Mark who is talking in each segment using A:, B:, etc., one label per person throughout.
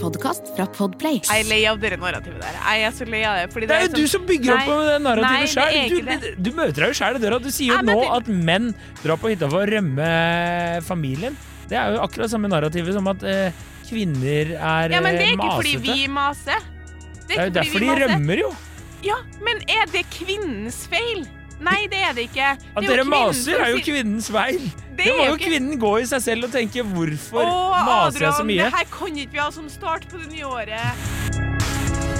A: podkast fra Podplay.
B: Jeg er lei av dere narrativet der. Jeg er så lei av det. Fordi
C: Det er jo
B: sånn-
C: du som bygger opp
B: Nei,
C: med det
B: nei,
C: narrativet
B: det er
C: sjøl.
B: egentlig
C: Du, du møter deg jo sjæl i døra. Du sier jo
B: Nei, men
C: nå
B: det-
C: at menn drar på hytta for å rømme familien. Det er jo akkurat samme narrativet som at eh, kvinner er
B: Ja, men det er
C: eh,
B: ikke fordi
C: masete.
B: vi maser.
C: Det er jo
B: ikke fordi vi
C: derfor de
B: maser.
C: rømmer, jo.
B: Ja, men er det kvinnens feil? Nei, det er det ikke. Det
C: At
B: er jo
C: dere
B: kvinnen
C: maser,
B: som
C: er jo
B: sier-
C: kvinnens feil.
B: Det
C: Det
B: er jo
C: må jo
B: ikke-
C: kvinnen gå i seg selv og tenke 'hvorfor
B: Å,
C: maser jeg så
B: Adrian,
C: mye'?
B: det her kan ikke vi ha som start på det nye året.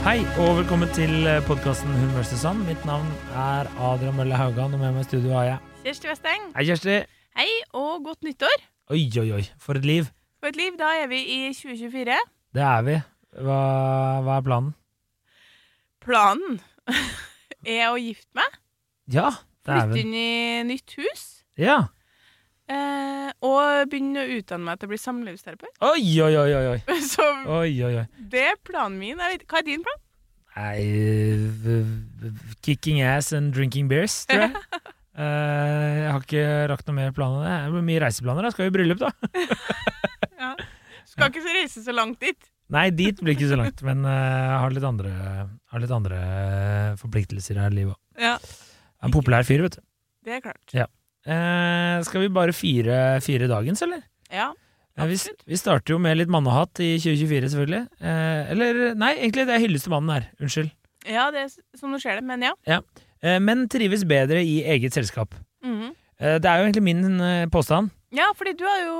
C: Hei og velkommen til podkasten Hun versus sann. Mitt navn er Adrian Mølle Haugan, og med meg i studio har jeg
B: Kjersti Westeng,
C: Hei, Kjersti.
B: hei og godt nyttår.
C: Oi, oi, oi, for et liv.
B: For et liv, da er vi i 2024.
C: Det er vi. Hva, hva er planen?
B: Planen er å gifte meg,
C: Ja, det er
B: flytte
C: vi.
B: inn i nytt hus
C: Ja.
B: eh, og begynne å utdanne meg til å bli samlivsterapeut.
C: Oi, oi, oi, oi. oi.
B: Så
C: Oi, oi, oi.
B: det er planen min. Jeg vet, hva er din plan?
C: Nei v- v- Kicking ass and drinking beers, tror jeg. Eh, jeg har ikke rakt noe mer planer. enn det. Det blir mye reiseplaner. da. Skal jo i bryllup, da.
B: Skal ikke så reise så langt dit.
C: Nei, dit blir ikke så langt, men eh, jeg har litt andre, har litt andre eh, forpliktelser her i livet òg.
B: Ja,
C: Er En populær fyr, vet du.
B: det er klart.
C: Eh, skal vi bare fire, fire dagens, eller?
B: Ja,
C: Eh, vi,
B: Absolutt.
C: vi starter jo med litt mannehatt i 2024, selvfølgelig. Eh, eller nei, egentlig det er hyllest til mannen her. Unnskyld.
B: ja det er s- som du ser det, men ja.
C: Eh, menn trives bedre i eget selskap.
B: Mhm.
C: Eh, det er jo egentlig min eh, påstand.
B: Ja, fordi du har jo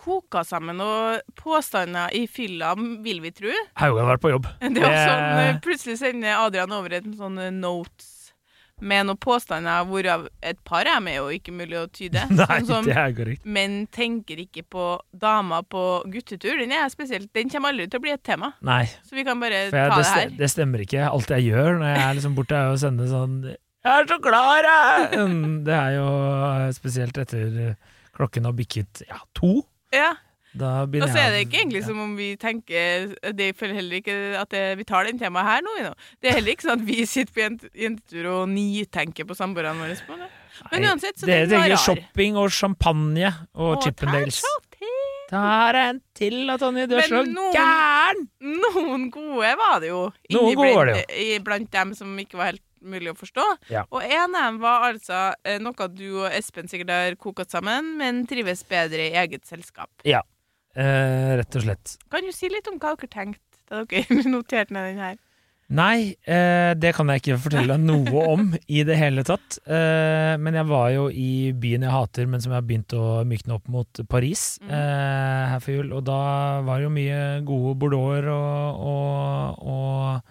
B: koka sammen og påstander i fylla, vil vi tro.
C: Hauge har vært på jobb.
B: Det var
C: Det-
B: sånn, eh, Plutselig sender Adrian over et sånn eh, notes med noen påstander, hvorav et par av dem er jo ikke mulig å tyde.
C: Nei,
B: sånn som
C: det er korrekt.
B: menn tenker ikke på damer på guttetur. Den er spesielt, den kommer aldri til å bli et tema,
C: Nei,
B: så vi kan bare
C: for jeg,
B: ta
C: det,
B: det her.
C: ste- det stemmer ikke. Alt jeg gjør når jeg er liksom borte, er å sende sånn 'Jeg er så klar, jeg!' Mm, Det er jo eh, spesielt etter eh, klokken har bikket ja, to.
B: Ja, Da
C: Da begynner
B: så er det
C: jeg
B: ikke egentlig
C: Ja.
B: som om vi tenker Det jeg føler heller ikke at det, vi tar den temaet her nå. vi nå. Det er heller ikke sånn at vi sitter på jent- jentetur og nitenker på samboerne våre. på det. Men
C: Nei,
B: uansett, så
C: Dere
B: den var
C: tenker
B: rar.
C: shopping og champagne og
B: Og
C: Chippendales.
B: der satt jeg.
C: Tar en til da, Tonje. Du er
B: Men
C: så
B: noen-
C: gæren!
B: Noen gode var det jo.
C: Noen
B: inni
C: gode var
B: blant- i- Blant dem som ikke var helt mulig å forstå.
C: Ja.
B: Og en av dem var altså eh, noe du og Espen sikkert har koket sammen, men trives bedre i eget selskap.
C: Eh, rett og slett.
B: Kan du si litt om hva dere tenkte da dere noterte ned den her?
C: Nei, eh, det kan jeg ikke fortelle deg noe om i det hele tatt. Eh, men jeg var jo i byen jeg hater, men som jeg har begynt å mykne opp mot Paris
B: Mhm.
C: eh, her for jul. Og da var det jo mye gode bordeauxer og, og, og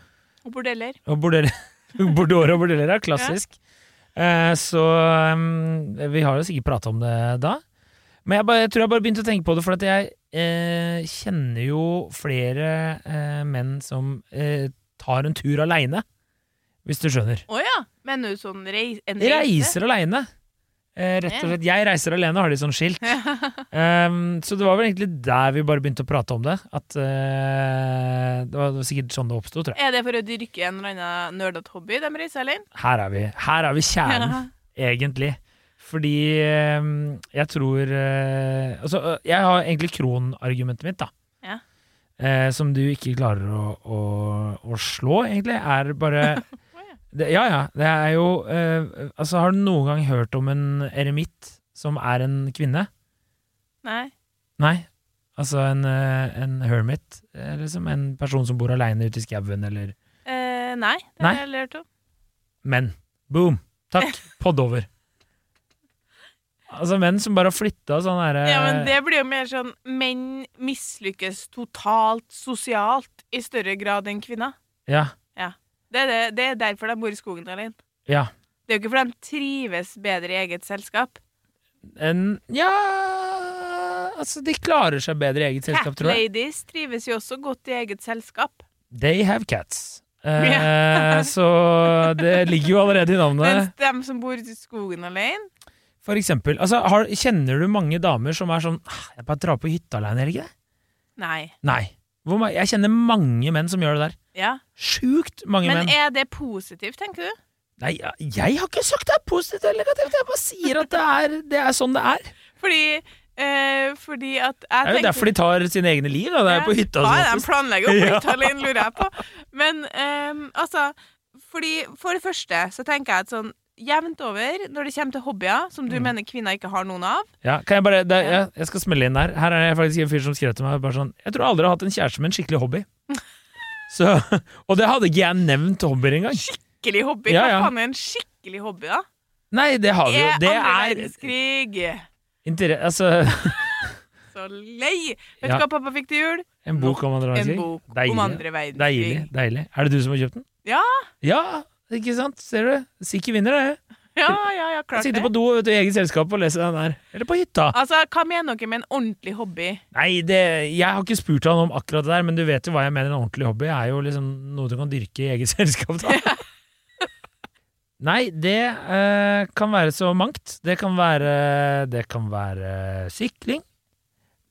B: Og bordeller.
C: Og bordeller, bordeller og bordeller er klassisk. Eh, så um, vi har jo sikkert prata om det da. Men jeg, bare, jeg tror jeg bare begynte å tenke på det, for at jeg eh, kjenner jo flere eh, menn som eh, tar en tur aleine, hvis du skjønner.
B: Å ja. Mener du sånn reis, en
C: De
B: reise?
C: reiser aleine. Eh, rett og slett. Jeg reiser alene, har de sånn skilt. Um, så det var vel egentlig der vi bare begynte å prate om det. At eh, det, var, det var sikkert sånn det oppsto, tror jeg.
B: Er det for å dyrke en eller annen nerdete hobby de reiser alene?
C: Her er vi, her er vi kjernen.
B: Ja.
C: egentlig. Fordi eh, jeg tror eh, Altså, eh, jeg har egentlig kronargumentet mitt, da.
B: Ja.
C: Eh, som du ikke klarer å, å, å slå, egentlig, er bare
B: ja.
C: det, Ja ja, det er jo eh, Altså, har du noen gang hørt om en eremitt som er en kvinne?
B: Nei.
C: Nei. Altså en, eh, en hermit, eh, liksom. En person som bor aleine ute i skauen, eller
B: Eh, nei, det
C: Nei.
B: har jeg aldri hørt om.
C: menn. Boom! Takk. Podd over. Altså menn som bare har flytta sånn herre
B: Ja, men det blir jo mer sånn menn mislykkes totalt sosialt i større grad enn kvinner.
C: Ja,
B: Det er, det, det er derfor de bor i skogen alene.
C: ja.
B: Det er jo ikke fordi de trives bedre i eget selskap.
C: En, ja Altså, de klarer seg bedre i eget selskap,
B: Cat
C: tror jeg.
B: ladies trives jo også godt i eget selskap.
C: They have cats. Eh, så det ligger jo allerede i
B: Mens
C: navnet.
B: dem som bor i skogen alene
C: For eksempel. Altså, har, kjenner du mange damer som er sånn «Ah, 'Jeg bare drar på hytta alene, gjør jeg ikke det?'
B: Nei.
C: Nei. Hvor ma- jeg kjenner mange menn som gjør det der.
B: Ja.
C: Sjukt mange
B: Men
C: menn.
B: er det positivt, tenker du?
C: Nei, jeg- jeg har ikke sagt det er positivt eller negativt, jeg bare sier at det er, det er sånn det er.
B: Fordi, eh, fordi at jeg
C: Det er jo derfor de tar sine egne liv, da. Det er på hytta
B: Hva er det
C: som
B: de planlegger oppe på
C: Ja.
B: hytta alene, lurer jeg på. Men ehm, altså fordi For det første så tenker jeg at sånn jevnt over, når det kommer til hobbyer som
C: Mm.
B: du mener kvinner ikke har noen av
C: Ja, kan jeg bare det, er- ja, Jeg skal smelle inn der. Her er jeg faktisk en fyr som skrev til meg bare sånn Jeg tror aldri jeg har hatt en kjæreste med en skikkelig hobby. Så, og det hadde ikke jeg nevnt hobbyer engang.
B: Skikkelig hobby?
C: Ja, ja.
B: Hva faen er en skikkelig hobby, da?
C: Nei, det har vi jo.
B: Er
C: Det
B: andre
C: er
B: verdenskrig
C: inter- Altså,
B: Så lei! Vet du
C: Ja.
B: hva pappa fikk til jul?
C: en bok om andre
B: En
C: verdenskrig.
B: bok
C: Deilig.
B: om andre verdenskrig.
C: Deilig. deilig Er det du som har kjøpt den?
B: Ja.
C: Ja, ikke sant? Ser du? Sikker vinner, det.
B: Ja, ja, ja,
C: Jeg
B: klart
C: sitter
B: det.
C: på do vet du, i eget selskap og leser den der. Eller på hytta.
B: Altså, Hva mener dere med en ordentlig hobby?
C: Nei, det, jeg har ikke spurt han om akkurat det der, men du vet jo hva jeg mener. En ordentlig hobby er jo liksom noe du kan dyrke i eget selskap. da Nei, det eh, kan være så mangt. Det kan være Det kan være sykling.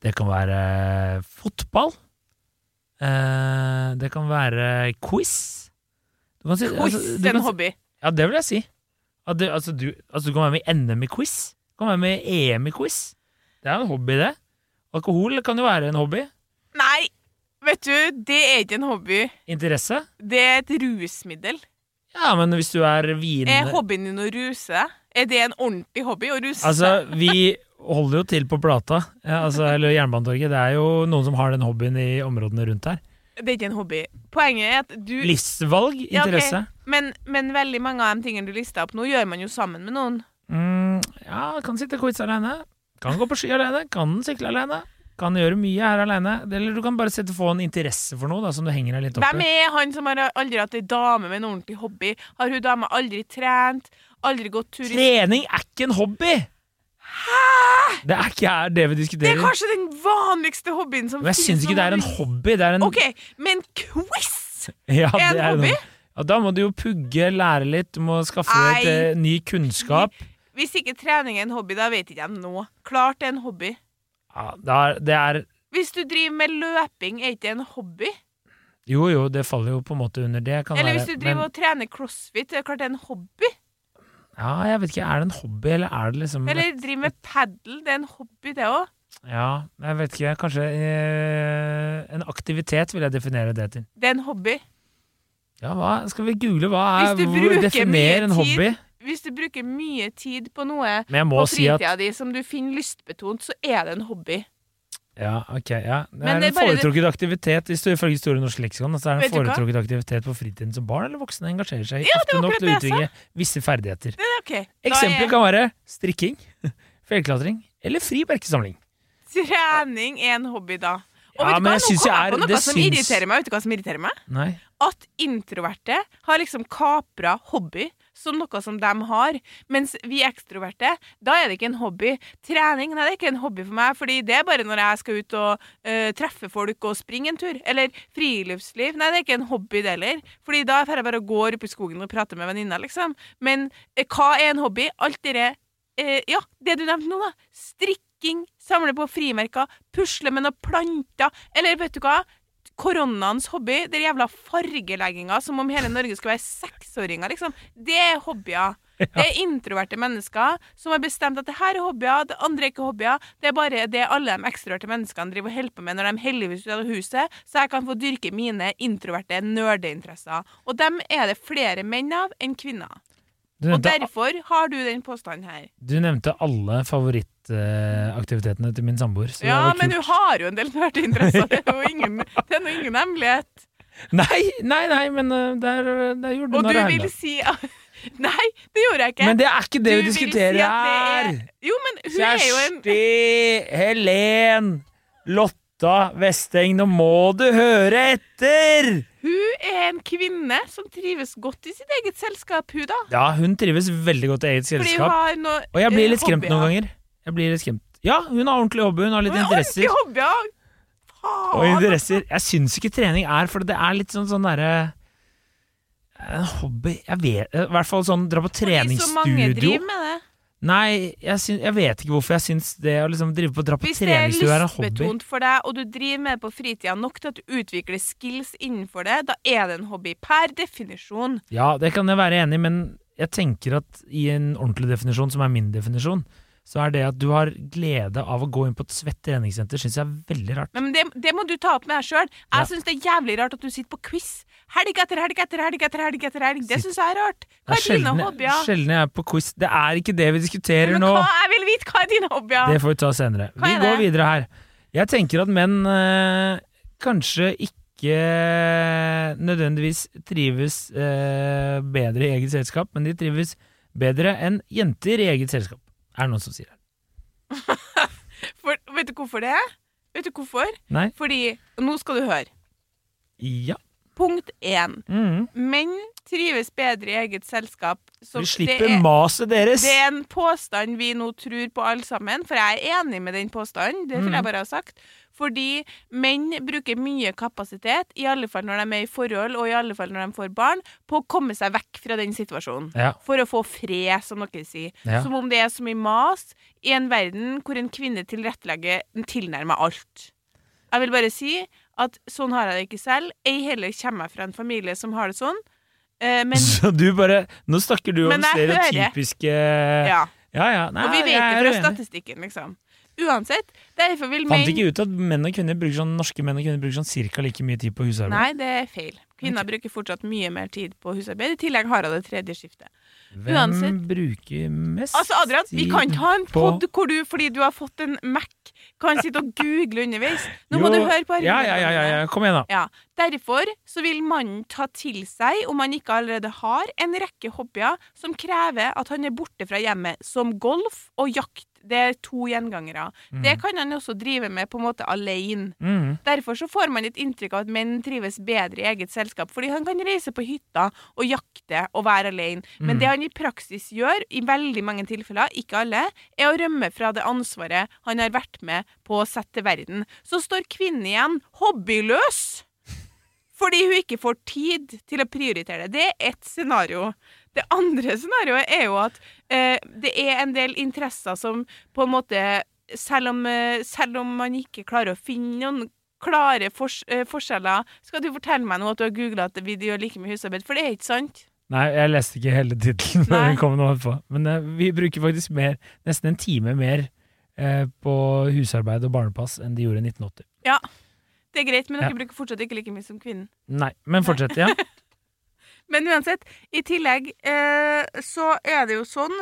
C: Det kan være fotball. Eh, det kan være quiz. Du kan si-
B: Quiz,
C: altså, du kan
B: en
C: si-
B: hobby.
C: Ja, det vil jeg si. At du, altså, du, altså, du kan være med i NM i quiz. Du kan være med i EM i quiz. Det er jo en hobby, det. Alkohol kan jo være en hobby.
B: Nei, vet du, det er ikke en hobby.
C: Interesse?
B: Det er et rusmiddel.
C: Ja, men hvis du er vin...
B: Er hobbyen din å ruse deg? Er det en ordentlig hobby å ruse seg?
C: Altså, vi holder jo til på Plata, ja, altså, eller Jernbanetorget. Det er jo noen som har den hobbyen i områdene rundt her.
B: Det er ikke en hobby. Poenget er at du
C: Livsvalg,
B: Ja, ok.
C: interesse.
B: men, men veldig mange av de tingene du lista opp nå, gjør man jo sammen med noen.
C: Mm, ja, kan sitte quiz alene. Kan gå på ski alene. Kan sykle alene. Kan gjøre mye her alene. Eller du kan bare sette få en interesse for noe da, som du henger deg litt opp
B: Hvem er han som har aldri hatt ei dame med en ordentlig hobby? Har hun dama aldri trent? Aldri gått tur i
C: Trening er ikke en hobby! Det er ikke her det vi
B: Det er
C: diskuterer.
B: kanskje den vanligste hobbyen som
C: Men jeg syns ikke det er en hobby. Det er en,
B: OK, men quiz!
C: ja, det
B: en hobby?
C: ja, da må du jo pugge, lære litt, du må skaffe
B: Nei.
C: deg et, eh, ny kunnskap.
B: Hvis ikke trening er en hobby, da vet ikke jeg nå. Klart det er en hobby.
C: Ja, det, er, det er
B: Hvis du driver med løping, er ikke det en hobby?
C: Jo jo, det faller jo på en måte under det. Kan
B: Eller
C: være,
B: hvis du driver
C: men,
B: og trener crossfit, det er klart det er en hobby.
C: Ja, jeg vet ikke. Er det en hobby, eller er det liksom
B: Eller driver med padel, det er en hobby, det òg.
C: Ja, jeg vet ikke. Kanskje eh, en aktivitet vil jeg definere det til.
B: Det er en hobby.
C: Ja, hva Skal vi google hva er
B: Hvis du
C: hvor-
B: bruker mye
C: Definer en
B: tid-
C: hobby.
B: Hvis du bruker mye tid på noe
C: Men jeg må
B: på
C: si at
B: fritida di som du finner lystbetont, så er det en hobby.
C: Ja, ok, ja. Det
B: Men
C: er
B: det
C: en
B: er bare-
C: foretrukket aktivitet i sto- ifølge Store norske leksikon. Altså, det er
B: Vet
C: en
B: du hva?
C: foretrukket aktivitet på fritiden som barn eller voksne engasjerer seg i,
B: Ja, det
C: ofte
B: var
C: nok
B: akkurat
C: til
B: det
C: å
B: jeg
C: utvikle visse ferdigheter.
B: Det er ok. Da
C: Eksempler
B: er
C: kan være strikking, fjellklatring eller fri berkesamling.
B: trening er en hobby, da. Og
C: Ja,
B: vet du
C: men
B: hva,
C: jeg
B: nå
C: synes
B: kom
C: jeg
B: jeg på
C: er-
B: noe
C: det
B: som
C: syns-
B: irriterer meg. Vet du hva som irriterer meg?
C: Nei.
B: At introverte har liksom kapra hobby som noe som de har, mens vi ekstroverte, da er det ikke en hobby. Trening, nei, det er ikke en hobby for meg, fordi det er bare når jeg skal ut og eh, treffe folk og springe en tur. Eller friluftsliv, nei, det er ikke en hobby det heller, fordi da får jeg bare og går opp i skogen og prater med venninna, liksom. Men eh, hva er en hobby? Alt dere eh, Ja, det du nevnte nå, da. Strikking, samle på frimerker, pusle med noen planter, eller vet du hva? koronaens hobby, den jævla fargelegginga som om hele Norge skulle være seksåringer, liksom. Det er hobbyer. Det er introverte mennesker som har bestemt at det her er hobbyer, det andre er ikke hobbyer. Det er bare det alle de ekstroverte menneskene driver og holder på med når de heldigvis er ute av huset, så jeg kan få dyrke mine introverte nerdeinteresser. Og dem er det flere menn av enn kvinner.
C: Du
B: Og
C: nevnte,
B: derfor har du den påstanden her.
C: du nevnte alle favorittaktivitetene til min samboer. Så
B: Ja,
C: det var
B: men
C: kult.
B: du har jo en del nerdeinteresser. Det er jo ingen, det er nå ingen hemmelighet.
C: Nei, nei, nei, men uh, der, der gjorde
B: Og
C: du
B: du
C: narr av
B: vil
C: henne.
B: si at Nei, det gjorde jeg ikke.
C: Men det er ikke det
B: Du
C: vi
B: vil si
C: diskuterer
B: at
C: her!
B: det er- Jo, men hun er jo en
C: Kjersti, Helen, Lotta Vesteng, nå må du høre etter!
B: Hun er en kvinne som trives godt i sitt eget selskap, hun, da.
C: Ja, hun trives veldig godt i eget
B: Fordi hun
C: selskap.
B: har noe
C: Og jeg
B: eh,
C: blir litt skremt
B: hobbyer.
C: noen ganger. Jeg blir litt skremt. Ja, hun har ordentlig hobby, hun har litt
B: Hun har ordentlige
C: interesser.
B: hobbyer. Faen!
C: Og interesser. Jeg syns ikke trening er, for det er litt sånn sånn derre eh, en hobby Jeg vet I hvert fall sånn dra på
B: Fordi så mange
C: treningsstudio.
B: driver med det.
C: Nei, jeg, syn- jeg vet ikke hvorfor jeg syns det å liksom drive på dra på
B: Hvis det er
C: treningsstue er en hobby.
B: lystbetont for deg, og du driver med det på fritida nok til at du utvikler skills innenfor det, da er det en hobby per definisjon.
C: Ja, det kan jeg være enig i, men jeg tenker at i en ordentlig definisjon, som er min definisjon, så er det at du har glede av å gå inn på et svett treningssenter, syns jeg er veldig rart.
B: Nei, Men det, det må du ta opp med deg sjøl.
C: Ja.
B: Jeg synes syns det er jævlig rart at du sitter på quiz helg etter helg etter helg. etter helg etter helg Det syns jeg er rart. Hva er dine hobbyer?
C: sjelden jeg er på quiz. Det er ikke det vi diskuterer
B: Men
C: nå.
B: hva, jeg vil vite hva er dine hobbyer.
C: Det får vi ta senere.
B: Hva
C: Vi
B: er
C: går
B: det?
C: videre her. Jeg tenker at menn eh, kanskje ikke eh, nødvendigvis trives eh, bedre i eget selskap, men de trives bedre enn jenter i eget selskap. Er det noen som sier det?
B: For, vet du hvorfor det? Vet du hvorfor?
C: Nei?
B: Fordi Nå skal du høre.
C: Ja.
B: Punkt én.
C: Mm.
B: Menn trives bedre i eget selskap. så
C: Vi
B: det
C: slipper
B: er-
C: maset deres!
B: Det er en påstand vi nå tror på alle sammen, for jeg er enig med den påstanden. Det
C: Mm.
B: vil jeg bare ha sagt. Fordi menn bruker mye kapasitet, i alle fall når de er i forhold, og i alle fall når de får barn, på å komme seg vekk fra den situasjonen.
C: Ja.
B: For å få fred, som dere sier.
C: Ja.
B: Som om det er så mye mas i en verden hvor en kvinne tilrettelegger tilnærmet alt. Jeg vil bare si at sånn har jeg det ikke selv. Ei heller kommer jeg fra en familie som har det sånn. Eh, men
C: Så du bare Nå snakker du om
B: Men jeg hører.
C: stereotypiske
B: ja.
C: ja. ja. Nei,
B: Og vi vet
C: jeg
B: det
C: er
B: fra
C: uenig.
B: statistikken, liksom. Uansett, derfor vil
C: Fant
B: menn
C: ikke ut at menn og kvinner bruker sånn, norske menn og kvinner bruker sånn cirka like mye tid på husarbeid?
B: Nei, det er feil. Kvinner bruker fortsatt mye mer tid på husarbeid. I tillegg har hun det tredje skiftet.
C: Hvem
B: uansett.
C: bruker mest
B: Altså, Adrian, vi kan
C: tid
B: ikke ha en
C: på-
B: pod hvor du, fordi du har fått en Mac, kan sitte og google underveis. Nå må
C: Jo,
B: du høre på
C: ja, ja, ja, ja, ja, kom igjen da
B: Ja, Derfor så vil mannen ta til seg, om han ikke allerede har, en rekke hobbyer som krever at han er borte fra hjemmet, som golf og jakt. Det er to gjengangere. Det kan han også drive med på en måte alene.
C: mm.
B: Derfor så får man et inntrykk av at menn trives bedre i eget selskap, fordi han kan reise på hytta og jakte og være alene. Men det han i praksis gjør, i veldig mange tilfeller, ikke alle, er å rømme fra det ansvaret han har vært med på å sette til verden. Så står kvinnen igjen hobbyløs! Fordi hun ikke får tid til å prioritere det. Det er ett scenario. Det andre scenarioet er jo at eh, det er en del interesser som på en måte Selv om, eh, selv om man ikke klarer å finne noen klare fors eh, forskjeller Skal du fortelle meg nå at du har googla at vi gjør like mye husarbeid? For det er ikke sant.
C: Nei, jeg leste ikke hele titlen når
B: Nei.
C: den kom nå på Men eh, vi bruker faktisk mer, nesten en time mer eh, På husarbeid og barnepass enn de gjorde i 1980
B: Ja, det er greit, men
C: Ja.
B: dere bruker fortsatt ikke like mye som kvinnen.
C: Nei, men fortsett, ja
B: Men uansett, i tillegg eh, så er det jo sånn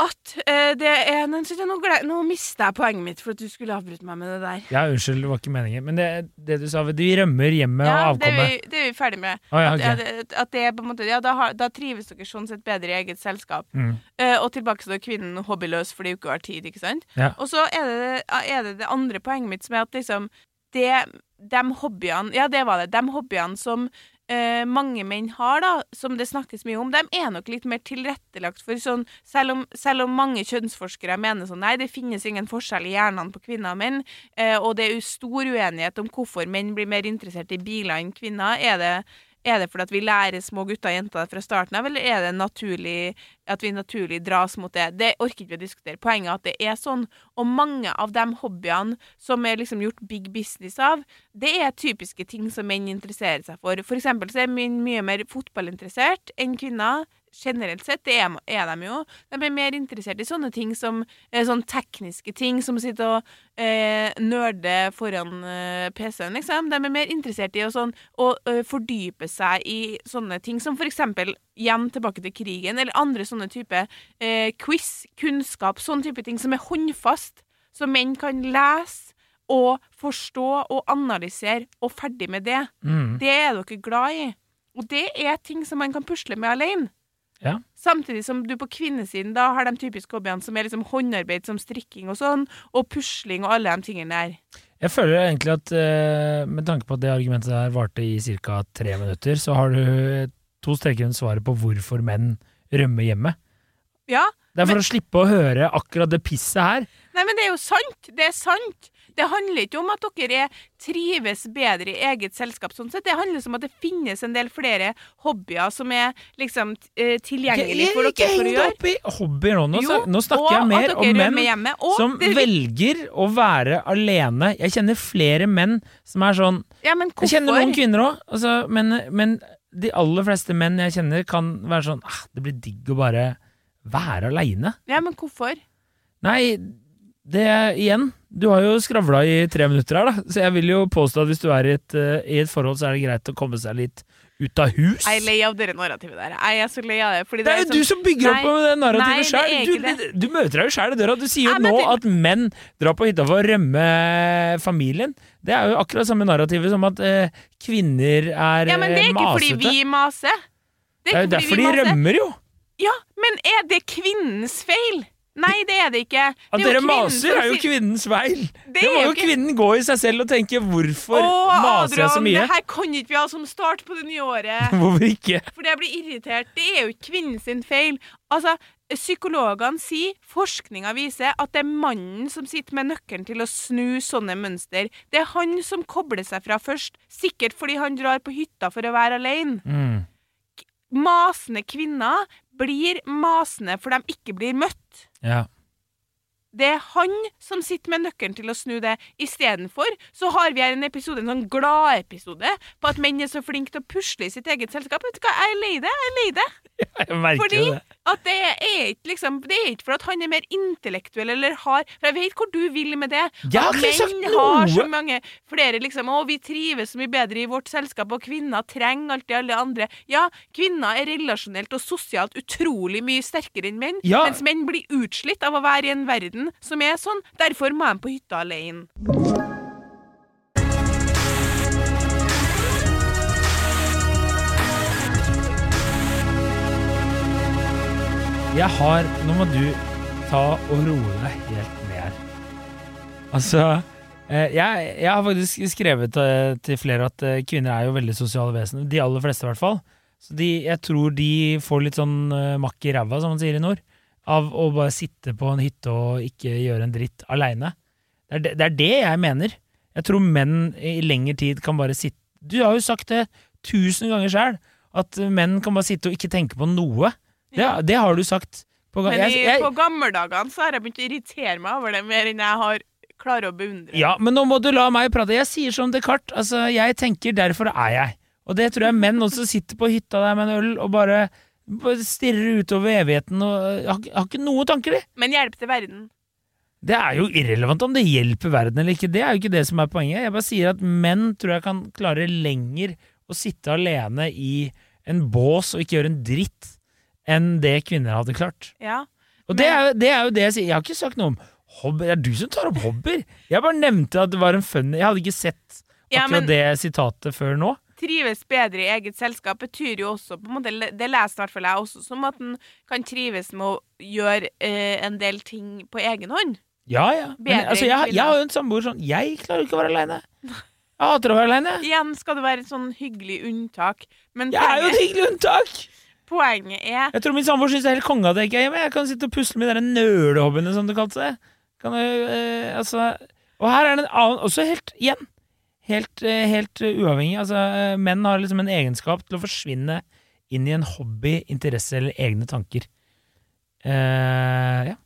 B: at eh, det er Nå, nå, gle- nå mista jeg poenget mitt for at du skulle avbryte meg med det der.
C: Ja, unnskyld, det var ikke meningen Men det, det du sa, de rømmer hjemme og
B: det, er
C: avkommet
B: vi, det er vi ferdig med.
C: Å, ja,
B: At-
C: ok.
B: ja, det- At det er på en måte Ja, da, har, da trives dere sånn sett bedre i eget selskap.
C: mm.
B: Eh, og tilbake til kvinnen hobbyløs fordi hun ikke har tid, ikke sant?
C: Ja.
B: Og så er det, eh, er det det andre poenget mitt, som er at liksom det, De hobbyene Ja, det var det. De hobbyene som eh, mange menn har, da, som det snakkes mye om, de er nok litt mer tilrettelagt for sånn Selv om, selv om mange kjønnsforskere mener sånn Nei, det finnes ingen forskjell i hjernene på kvinner og menn, eh, og det er jo stor uenighet om hvorfor menn blir mer interessert i biler enn kvinner. Er det er det fordi at vi lærer små gutter og jenter fra starten av, eller er det naturlig at vi naturlig dras mot det? Det orker ikke vi å diskutere. Poenget er at det er sånn. Og mange av de hobbyene som er liksom gjort big business av, det er typiske ting som menn interesserer seg for. For eksempel så er menn mye mer fotballinteressert enn kvinner. Generelt sett, det er, er de jo. De er mer interessert i sånne ting som eh, sånn tekniske ting, som å sitte og eh, nerde foran eh, PC-en, liksom. De er mer interessert i å, sånn, å eh, fordype seg i sånne ting som for eksempel igjen tilbake til krigen, eller andre sånne type eh, quiz, kunnskap, sånne type ting som er håndfast, som menn kan lese og forstå og analysere, og ferdig med det.
C: Mm.
B: Det er dere glad i. Og det er ting som man kan pusle med alene.
C: Ja.
B: Samtidig som du på kvinnesiden da har de typiske hobbyene som er liksom håndarbeid som strikking og sånn, og pusling og alle de tingene der.
C: Jeg føler egentlig at eh, med tanke på at det argumentet der varte i ca. tre minutter, så har du eh, to streker under svaret på hvorfor menn rømmer hjemme.
B: Ja,
C: Det er for å slippe å høre akkurat det pisset her.
B: Nei, men det er jo sant! Det er sant! Det handler ikke om at dere er, trives bedre i eget selskap. sånn sett. Det handler om at det finnes en del flere hobbyer som er liksom t- eh, tilgjengelig for
C: Ikke
B: dere for å
C: heng deg
B: gjøre.
C: opp i hobbyer nå. Nå,
B: Jo,
C: snak- nå snakker jeg mer
B: Og at
C: om
B: dere
C: menn
B: rømmer hjemme. Og
C: som
B: det,
C: velger å være alene. Jeg kjenner flere menn som er sånn
B: ja, men
C: Jeg kjenner noen
B: hvorfor?
C: kvinner òg, altså, men, men de aller fleste menn jeg kjenner, kan være sånn ah, Det blir digg å bare være aleine.
B: Ja, men hvorfor?
C: Nei, det igjen Du har jo skravla i tre minutter her, da, så jeg vil jo påstå at hvis du er i et, eh, i et forhold, så er det greit å komme seg litt ut av hus.
B: Jeg er lei av dere narrativet der. Jeg er så lei av det. Fordi
C: Det er jo
B: sånn-
C: du som bygger opp
B: Nei,
C: med det
B: nei,
C: narrativet
B: det er
C: sjøl!
B: ikke
C: Du, du møter deg jo sjæl i døra. Du sier jo
B: Nei, men
C: nå
B: det-
C: at menn drar på hytta for å rømme familien. Det er jo akkurat samme narrativet som at eh, kvinner er
B: ja, men det er
C: eh,
B: ikke
C: masete.
B: fordi vi maser.
C: Det er jo
B: ikke fordi vi
C: derfor de
B: maser.
C: rømmer, jo.
B: Ja, men er det kvinnens feil? Nei, det er det ikke. Det
C: At
B: er jo
C: dere
B: kvinnen
C: maser,
B: som
C: er jo
B: sier-
C: kvinnens feil.
B: Det
C: Det
B: er
C: må
B: jo
C: jo
B: ikke-
C: kvinnen gå i seg selv og tenke 'hvorfor
B: Å,
C: maser jeg så
B: Adrian,
C: mye'?
B: det her kan ikke vi ha som start på det nye året.
C: Hvorfor ikke?
B: For jeg blir irritert. Det er jo ikke kvinnen sin feil. Altså, psykologene sier, forskninga viser, at det er mannen som sitter med nøkkelen til å snu sånne mønster. Det er han som kobler seg fra først. Sikkert fordi han drar på hytta for å være alene.
C: Mm.
B: Masende kvinner blir masende for de ikke blir møtt.
C: Ja.
B: Det er han som sitter med nøkkelen til å snu det. Istedenfor så har vi her en episode, en sånn gladepisode, på at menn er så flinke til å pusle i sitt eget selskap. Vet du hva, jeg er lei det. Jeg er lei det.
C: Jeg merker
B: Fordi
C: det.
B: at det er ikke liksom Det er ikke for at han er mer intellektuell eller har For jeg vet hvor du vil med det.
C: Jeg har
B: At
C: ikke sagt
B: menn har så
C: noe.
B: mange flere liksom Å, vi trives så mye bedre i vårt selskap, og kvinner trenger alltid alle andre. Ja, kvinner er relasjonelt og sosialt utrolig mye sterkere enn menn,
C: Ja.
B: mens menn blir utslitt av å være i en verden som er sånn. Derfor må de på hytta alene.
C: Jeg har Nå må du ta og roe deg helt ned her. Altså eh, jeg, jeg har faktisk skrevet eh, til flere at eh, kvinner er jo veldig sosiale vesener. De aller fleste, i hvert fall. Så de, jeg tror de får litt sånn eh, makk i ræva, som man sier i nord, av å bare sitte på en hytte og ikke gjøre en dritt aleine. Det, er det- det er det jeg mener. Jeg tror menn i lengre tid kan bare sitte Du har jo sagt det tusen ganger sjøl, at menn kan bare sitte og ikke tenke på noe. Det, det har du sagt. På,
B: Men
C: jeg,
B: i,
C: jeg,
B: på gammeldagene så har jeg begynt å irritere meg over det mer enn jeg har klarer å beundre.
C: ja, men nå må du la meg prate. Jeg sier som Descartes. Altså, jeg tenker, derfor er jeg. Og det tror jeg menn også sitter på hytta der med en øl og bare, bare stirrer utover evigheten og øh, har, ikke- har ikke noen tanker, de.
B: Men hjelp til verden.
C: Det er jo irrelevant om det hjelper verden eller ikke. Det er jo ikke det som er poenget. Jeg bare sier at menn tror jeg kan klare lenger å sitte alene i en bås og ikke gjøre en dritt enn det kvinner hadde klart.
B: Ja.
C: Og det er, jo- det er jo det jeg sier. Jeg har ikke sagt noe om hobbyer. Det er du som tar opp hobbyer. Jeg bare nevnte at det var en funny Jeg hadde ikke sett
B: Ja,
C: akkurat
B: men-
C: det sitatet før nå.
B: Trives bedre i eget selskap betyr jo også på en måte, Det leser i hvert fall jeg også som at en kan trives med å gjøre eh, en del ting på egen hånd.
C: Ja, ja. Men,
B: Bedre
C: altså,
B: enn
C: jeg,
B: kvinner.
C: jeg har jo en samboer sånn Jeg klarer ikke å være aleine. Jeg hater å være aleine.
B: Igjen skal det være et sånn hyggelig unntak, men
C: Jeg er jo
B: poenget,
C: et hyggelig unntak!
B: poenget er
C: Jeg tror min samboer syns det er helt konge at jeg ikke er hjemme. Jeg kan sitte og pusle med de der nølehobbene, som det kalte det. Kan jeg, eh, altså Og her er det en annen Også helt igjen. Helt, eh, helt eh, uavhengig. Altså, eh, menn har liksom en egenskap til å forsvinne inn i en hobby, interesse eller egne tanker. Eh, ja.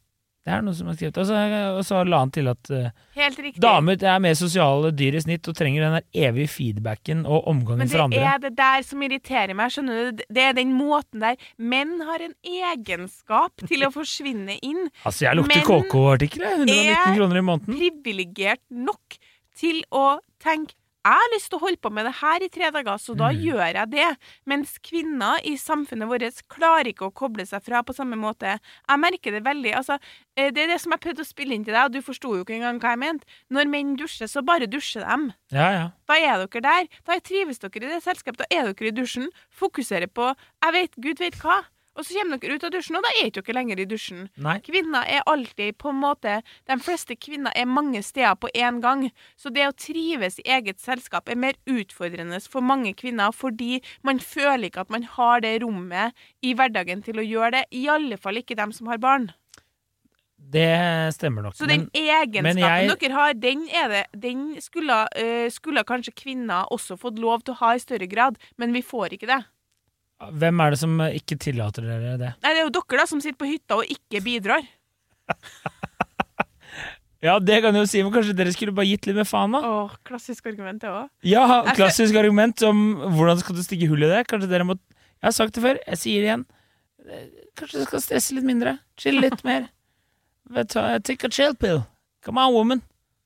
C: Det er noe som er skrevet. Og så- Og så la han til at eh,
B: helt riktig.
C: damer er mer sosiale dyr i snitt og trenger den der evige feedbacken og omgangen
B: men
C: fra
B: det
C: andre.
B: er det der som irriterer meg. skjønner du? Det er den måten der. Menn har en egenskap til å forsvinne inn.
C: Altså, jeg lukter
B: menn
C: KK-artikkel, jeg. 119
B: er-
C: kroner i måneden.
B: privilegert nok til å tenke jeg har lyst til å holde på med det her i tre dager, så da
C: Mm.
B: gjør jeg det. Mens kvinner i samfunnet vårt klarer ikke å koble seg fra på samme måte. Jeg merker det veldig. Altså, eh, det er det som jeg prøvde å spille inn til deg, og du forsto jo ikke engang hva jeg mente. Når menn dusjer, så bare dusjer dem.
C: Ja, ja.
B: Da er dere der. Da trives dere i det selskapet. Da er dere i dusjen. Fokuserer på jeg vet, gud vet hva. Og så kommer dere ut av dusjen, og da er ikke dere lenger i dusjen.
C: Nei.
B: Kvinner er alltid på en måte De fleste kvinner er mange steder på én gang. Så det å trives i eget selskap er mer utfordrende for mange kvinner, fordi man føler ikke at man har det rommet i hverdagen til å gjøre det. I alle fall ikke dem som har barn.
C: Det stemmer nok.
B: Så den
C: men,
B: egenskapen
C: jeg-
B: dere har, den, er det, den skulle, eh, skulle kanskje kvinner også fått lov til å ha i større grad, men vi får ikke det.
C: hvem er det som eh, ikke tillater dere det?
B: Nei, det er jo dere da som sitter på hytta og ikke bidrar.
C: Ja, det kan jeg jo si, men kanskje dere skulle bare gitt litt mer faen, da?
B: Åh, klassisk argument det òg.
C: Ja,
B: Jeg føl-
C: klassisk argument om hvordan skal du stikke hull i det? Kanskje dere må Jeg har sagt det før, jeg sier det igjen. Eh, Kanskje du skal stresse litt mindre? Chille litt mer? Vet du hva, Take a chill pill. Come on, woman.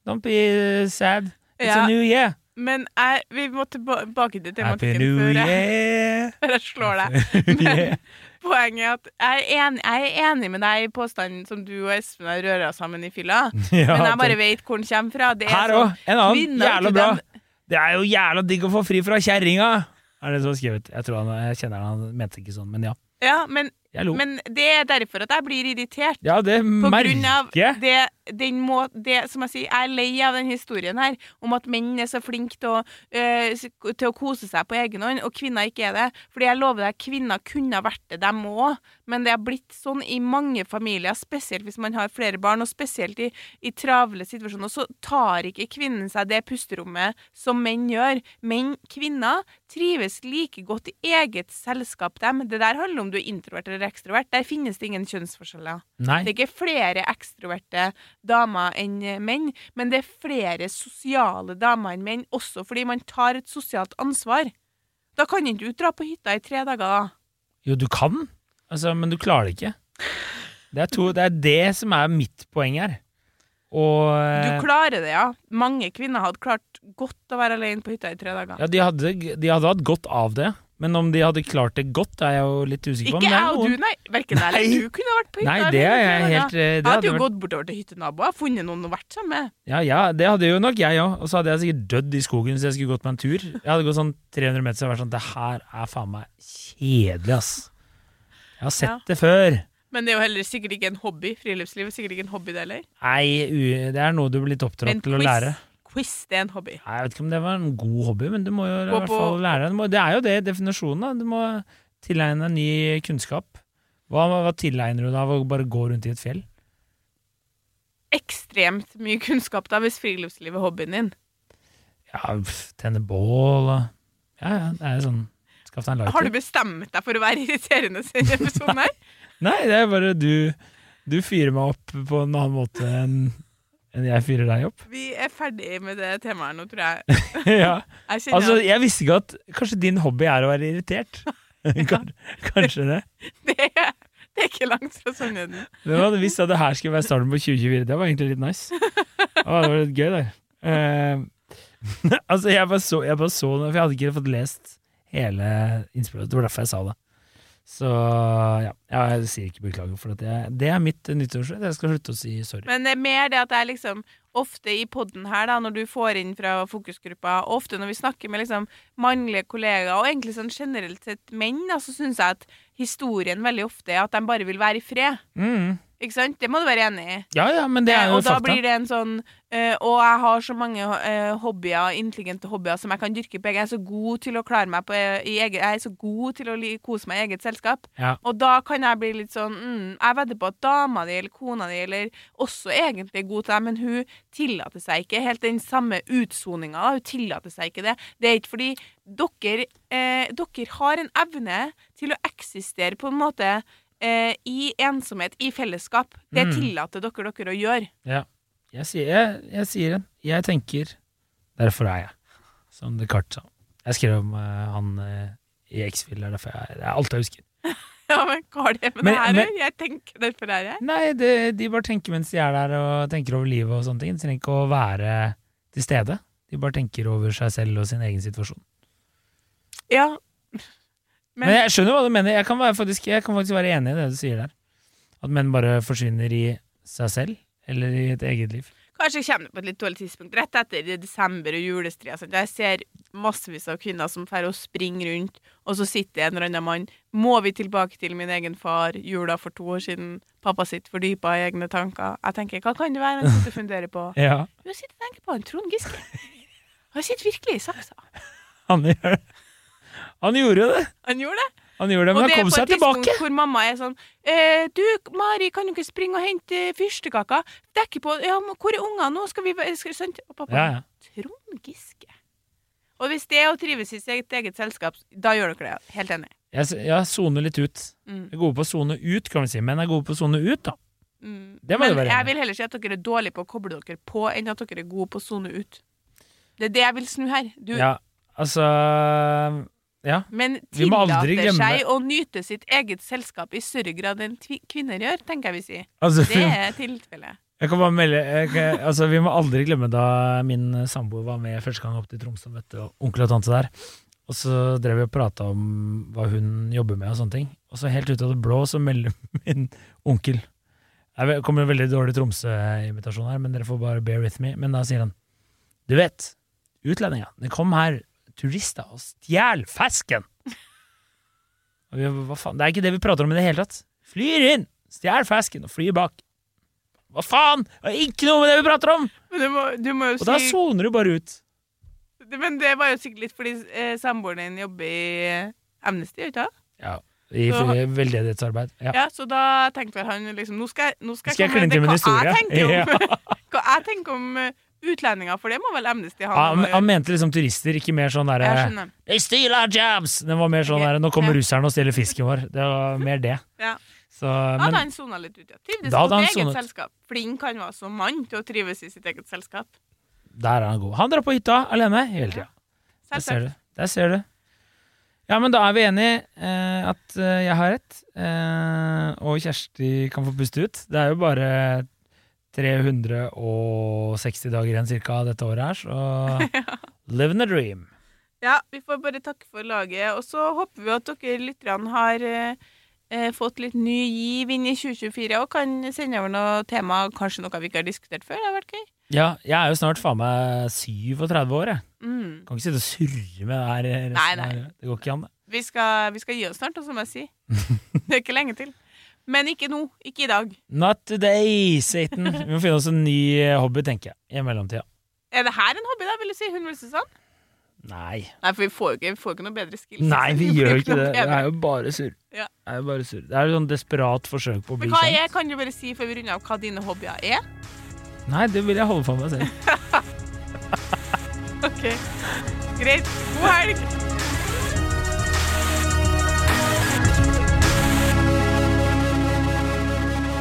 C: Don't be eh, sad. It's
B: Ja,
C: a new year.
B: men jeg, vi må tilba- tilbake til
C: Happy
B: tematikken
C: new
B: før jeg,
C: year.
B: før jeg slår deg.
C: Yeah.
B: Poenget er at jeg er, enig, jeg er enig med deg i påstanden som du og Espen har røra sammen i fylla,
C: Ja,
B: men jeg
C: det-
B: bare vet hvor den kommer fra. Det er
C: Her
B: sånn-
C: òg! En annen.
B: Kvinner,
C: Jævla
B: ikke
C: bra.
B: dem.
C: Det er jo jævla digg å få fri fra kjerringa! Er det som er skrevet. Jeg tror han, jeg kjenner han, han mente ikke sånn, men ja.
B: Ja, men,
C: Jeg lo.
B: men det er derfor at jeg blir irritert.
C: ja, det
B: På
C: merker
B: grunn av
C: jeg.
B: det, den må, det som jeg sier, jeg er lei av den historien her, om at menn er så flinke til, å, eh, s- til å kose seg på egen hånd, og kvinner ikke er det. Fordi jeg lover deg, kvinner kunne ha vært det, dem òg, men det har blitt sånn i mange familier, spesielt hvis man har flere barn, og spesielt i, i travle situasjoner, så tar ikke kvinnen seg det pusterommet som menn gjør. Men kvinner trives like godt i eget selskap, dem. Det der handler om du er introvert eller ekstrovert. Der finnes det ingen kjønnsforskjeller.
C: Nei.
B: Det er ikke flere ekstroverte damer enn eh, menn, men det er flere sosiale damer enn menn, også fordi man tar et sosialt ansvar. Da kan ikke du dra på hytta i tre dager, da.
C: Jo, du kan, altså, men du klarer det ikke. Det er, to, det er det som er mitt poeng her. Og eh,
B: Du klarer det, ja. Mange kvinner hadde klart godt å være alene på hytta i tre dager.
C: ja, de, hadde, de hadde hatt godt av det, men om de hadde klart det godt, er jeg jo litt usikker på.
B: Ikke
C: men det er
B: jeg og
C: noen-
B: du, nei. Verken jeg
C: Nei.
B: eller du kunne ha vært på hytta.
C: Nei,
B: alene
C: det er
B: i tre
C: jeg
B: dager.
C: helt eh,
B: Jeg
C: det
B: hadde jo
C: vært-
B: gått bortover til hyttenaboer, funnet noen å vært sammen med.
C: Ja, ja, det hadde jo nok jeg òg. Og så hadde jeg sikkert dødd i skogen hvis jeg skulle gått meg en tur. Jeg hadde gått sånn 300 meter så hadde jeg vært sånn Det her er faen meg kjedelig, ass. Jeg har sett
B: Ja.
C: det før.
B: Men det er jo heller sikkert ikke en hobby. Friluftsliv er sikkert ikke en hobby, det heller.
C: Nei, u det er noe du blir litt oppdratt
B: Men
C: til å lære.
B: quiz, det er en hobby.
C: Nei, jeg vet ikke om det var en god hobby, men du må jo i
B: Gå
C: hvert
B: på-
C: fall lære deg. Du må- Det er jo det definisjonen, da. Du må tilegne deg ny kunnskap. Hva, hva tilegner du deg av å bare gå rundt i et fjell?
B: ekstremt mye kunnskap da hvis friluftsliv er hobbyen din.
C: Ja, pff, tenne bål og Ja, ja, det er jo sånn Skaff deg en lighter.
B: Har du bestemt deg for å være irriterende i denne episoden her?
C: Nei, det er bare du Du fyrer meg opp på en annen måte enn enn jeg fyrer deg opp.
B: Vi er ferdig med det temaet nå, tror jeg.
C: ja.
B: Jeg kjenner
C: Altså, jeg visste ikke at Kanskje din hobby er å være irritert? Kan- Kanskje det.
B: at det, er- det er ikke langt fra sannheten.
C: Hvem hadde visst at det her skulle være starten på 2024? Det var egentlig litt nice. Å, det var litt gøy, der. Eh, altså, jeg bare, så, jeg bare så det, for jeg hadde ikke fått lest hele innspillet. Det var derfor jeg sa det. Så ja, jeg sier ikke beklager, for at jeg, det er mitt nyttårsrett. Jeg skal slutte å si sorry.
B: Men det er mer det at jeg liksom ofte i podden her, da, når du får inn fra fokusgruppa, og ofte når vi snakker med liksom mannlige kollegaer, og egentlig sånn generelt sett menn, da, så syns jeg at historien veldig ofte er at de bare vil være i fred.
C: Mm.
B: Ikke sant? Det må du være enig i.
C: Ja ja, men det er
B: Eh, og
C: jo
B: da
C: fakta.
B: blir det en sånn eh, Og jeg har så mange eh, hobbyer, intelligente hobbyer som jeg kan dyrke på egen. Jeg er så god til å klare meg på eh, i eget Jeg er så god til å li, kose meg i eget selskap.
C: Ja.
B: Og da kan jeg bli litt sånn mm, Jeg vedder på at dama di eller kona di eller også egentlig er god til deg, men hun tillater seg ikke helt den samme utsoninga. da. Hun tillater seg ikke det. Det er ikke fordi dere, eh, dere har en evne til å eksistere på en måte eh, i ensomhet, i fellesskap. Det
C: Mm.
B: tillater dere dere å gjøre.
C: Jeg sier, jeg, jeg sier det. Jeg tenker Derfor er jeg. Som Descartes sa. Jeg skrev om eh, han eh, i X-Fill. Det er derfor jeg, det er alt jeg husker.
B: Ja, men hva har det med
C: Men-
B: det her å
C: men-
B: gjøre? Jeg tenker derfor er jeg.
C: Nei, det, de bare tenker mens de er der og tenker over livet og sånne ting. De trenger ikke å være til stede. De bare tenker over seg selv og sin egen situasjon.
B: Ja.
C: Men,
B: Men,
C: jeg skjønner hva du mener. Jeg kan, være, faktisk, jeg kan faktisk være enig i det du sier der. At menn bare forsvinner i seg selv, eller i et eget liv.
B: kanskje jeg kommer på et litt dårlig tidspunkt, rett etter det desember og julestria. sant? Jeg ser massevis av kvinner som drar og springer rundt, og så sitter en eller annen mann. Må vi tilbake til min egen far, jula for to år siden, pappa sitt fordypa i egne tanker? Jeg tenker, hva kan det være han sitter og funderer på?
C: Ja,
B: Jo, jeg sitter og tenker på en Trond Giske. Han sitter virkelig i saksa.
C: han gjør det. Han gjorde jo det!
B: Han gjorde det.
C: Han gjorde det, men
B: og det
C: han
B: er
C: kom
B: på
C: seg
B: et tidspunkt
C: tilbake.
B: hvor mamma er sånn eh, 'Du, Mari, kan du ikke springe og hente fyrstekaker?' Dekke på 'Ja, men hvor er ungene nå? Skal vi være- skal, sant? Og pappa
C: Ja, ja.
B: Trond Giske. Og hvis det er å trives i sitt eget selskap, da gjør dere det. Helt enig.
C: Jeg, s- ja, sone litt ut.
B: Mm.
C: Vi er gode på å sone ut, kan vi si. Menn er gode på å sone ut, da.
B: Mm.
C: Det må
B: Men
C: du være enig
B: jeg
C: i.
B: vil heller si at dere er dårlige på å koble dere på, enn at dere er gode på å sone ut. Det er det jeg vil snu her. Du,
C: Ja, altså Ja.
B: Men
C: Vi må aldri
B: tillater
C: glemme-
B: seg å nyte sitt eget selskap i større grad enn tvi- kvinner gjør, tenker jeg vi sier.
C: Altså,
B: Det er tilfellet.
C: Jeg kan bare melde jeg, kan- Altså, Vi må aldri glemme da min samboer var med første gang opp til Tromsø, vet du, og onkel og tante der. Og så drev vi og prata om hva hun jobber med og sånne ting. Og så helt ut av det blå så melder min onkel Jeg vet- kommer en veldig dårlig Tromsø-invitasjon her, men dere får bare bear with me. Men da sier han Du vet, utlendinger, de kom her, turister, og stjel fisken! Og vi, hva faen, Det er ikke det vi prater om i det hele tatt. Flyr inn, stjel fisken, og flyr bak. Hva faen? Det er ikke noe med det vi prater om!
B: Men du må, du må jo
C: Og da
B: si
C: soner du bare ut.
B: Men det var jo sikkert litt fordi eh, samboeren din jobber i eh, Amnesty, ikke sant?
C: Ja, I
B: Så-
C: veldedighetsarbeid. Ja.
B: Ja, så da tenkte vel han liksom Nå skal, jeg- nå skal,
C: Skal jeg
B: komme
C: kline til med en
B: hva jeg
C: historie?
B: tenker om, hva jeg tenker om eh, utlendinger, for det må vel Amnesty ha
C: Han,
B: noe å
C: han
B: gjøre.
C: mente liksom turister, ikke mer sånn
B: Jeg
C: derre
B: skjønner.
C: They steal our jobs! Det var mer sånn
B: Ok,
C: derre Nå kommer
B: ja.
C: russerne og stjeler fisken vår. Det var mer det.
B: Ja.
C: Så,
B: Da hadde
C: men
B: han sona litt ut, ja. Trivdes
C: Da hadde
B: på
C: han
B: sitt eget
C: sonet.
B: selskap. Flink han var som mann til å trives i sitt eget selskap.
C: der er han god. Han drar på hytta alene hele tida. Der ser
B: Selvsagt.
C: du. Der ser du. Ja, men da er vi enige eh, at eh, jeg har rett, eh, og Kjersti kan få puste ut. Det er jo bare 360 dager igjen cirka av dette året her, så live in the dream.
B: Ja, vi får bare takke for laget. Og så håper vi at dere lytterne har eh, eh, fått litt ny giv inn i 2024 og kan sende over noe tema, kanskje noe vi ikke har diskutert før. Det har vært gøy.
C: Ja, jeg er jo snart faen meg 37 år, jeg.
B: Mm.
C: Kan ikke sitte og surre med det her eh, resten
B: Nei, nei.
C: av livet. Det går ikke an, det.
B: Vi, skal, vi skal gi oss snart, og så må jeg si. Det er ikke lenge til. Men ikke nå. Ikke i dag.
C: Not today, Satan. Vi må finne oss en ny eh, hobby, tenker jeg, i mellomtida.
B: Er det her en hobby, da, vil du si? Hundevelsesand?
C: Nei.
B: Nei, for vi får jo ikke, vi får ikke noe bedre skills.
C: Nei, vi
B: blir
C: gjør
B: noe
C: ikke det. Det
B: bedre.
C: er jo bare surr.
B: Ja.
C: Det er jo bare surr. Det er jo sånn desperat forsøk på å bli
B: Men hva
C: kjent.
B: er, kan du bare si før vi runder av hva dine hobbyer er?
C: Nei, det vil jeg holde for meg selv.
B: Ok, Greit. God helg!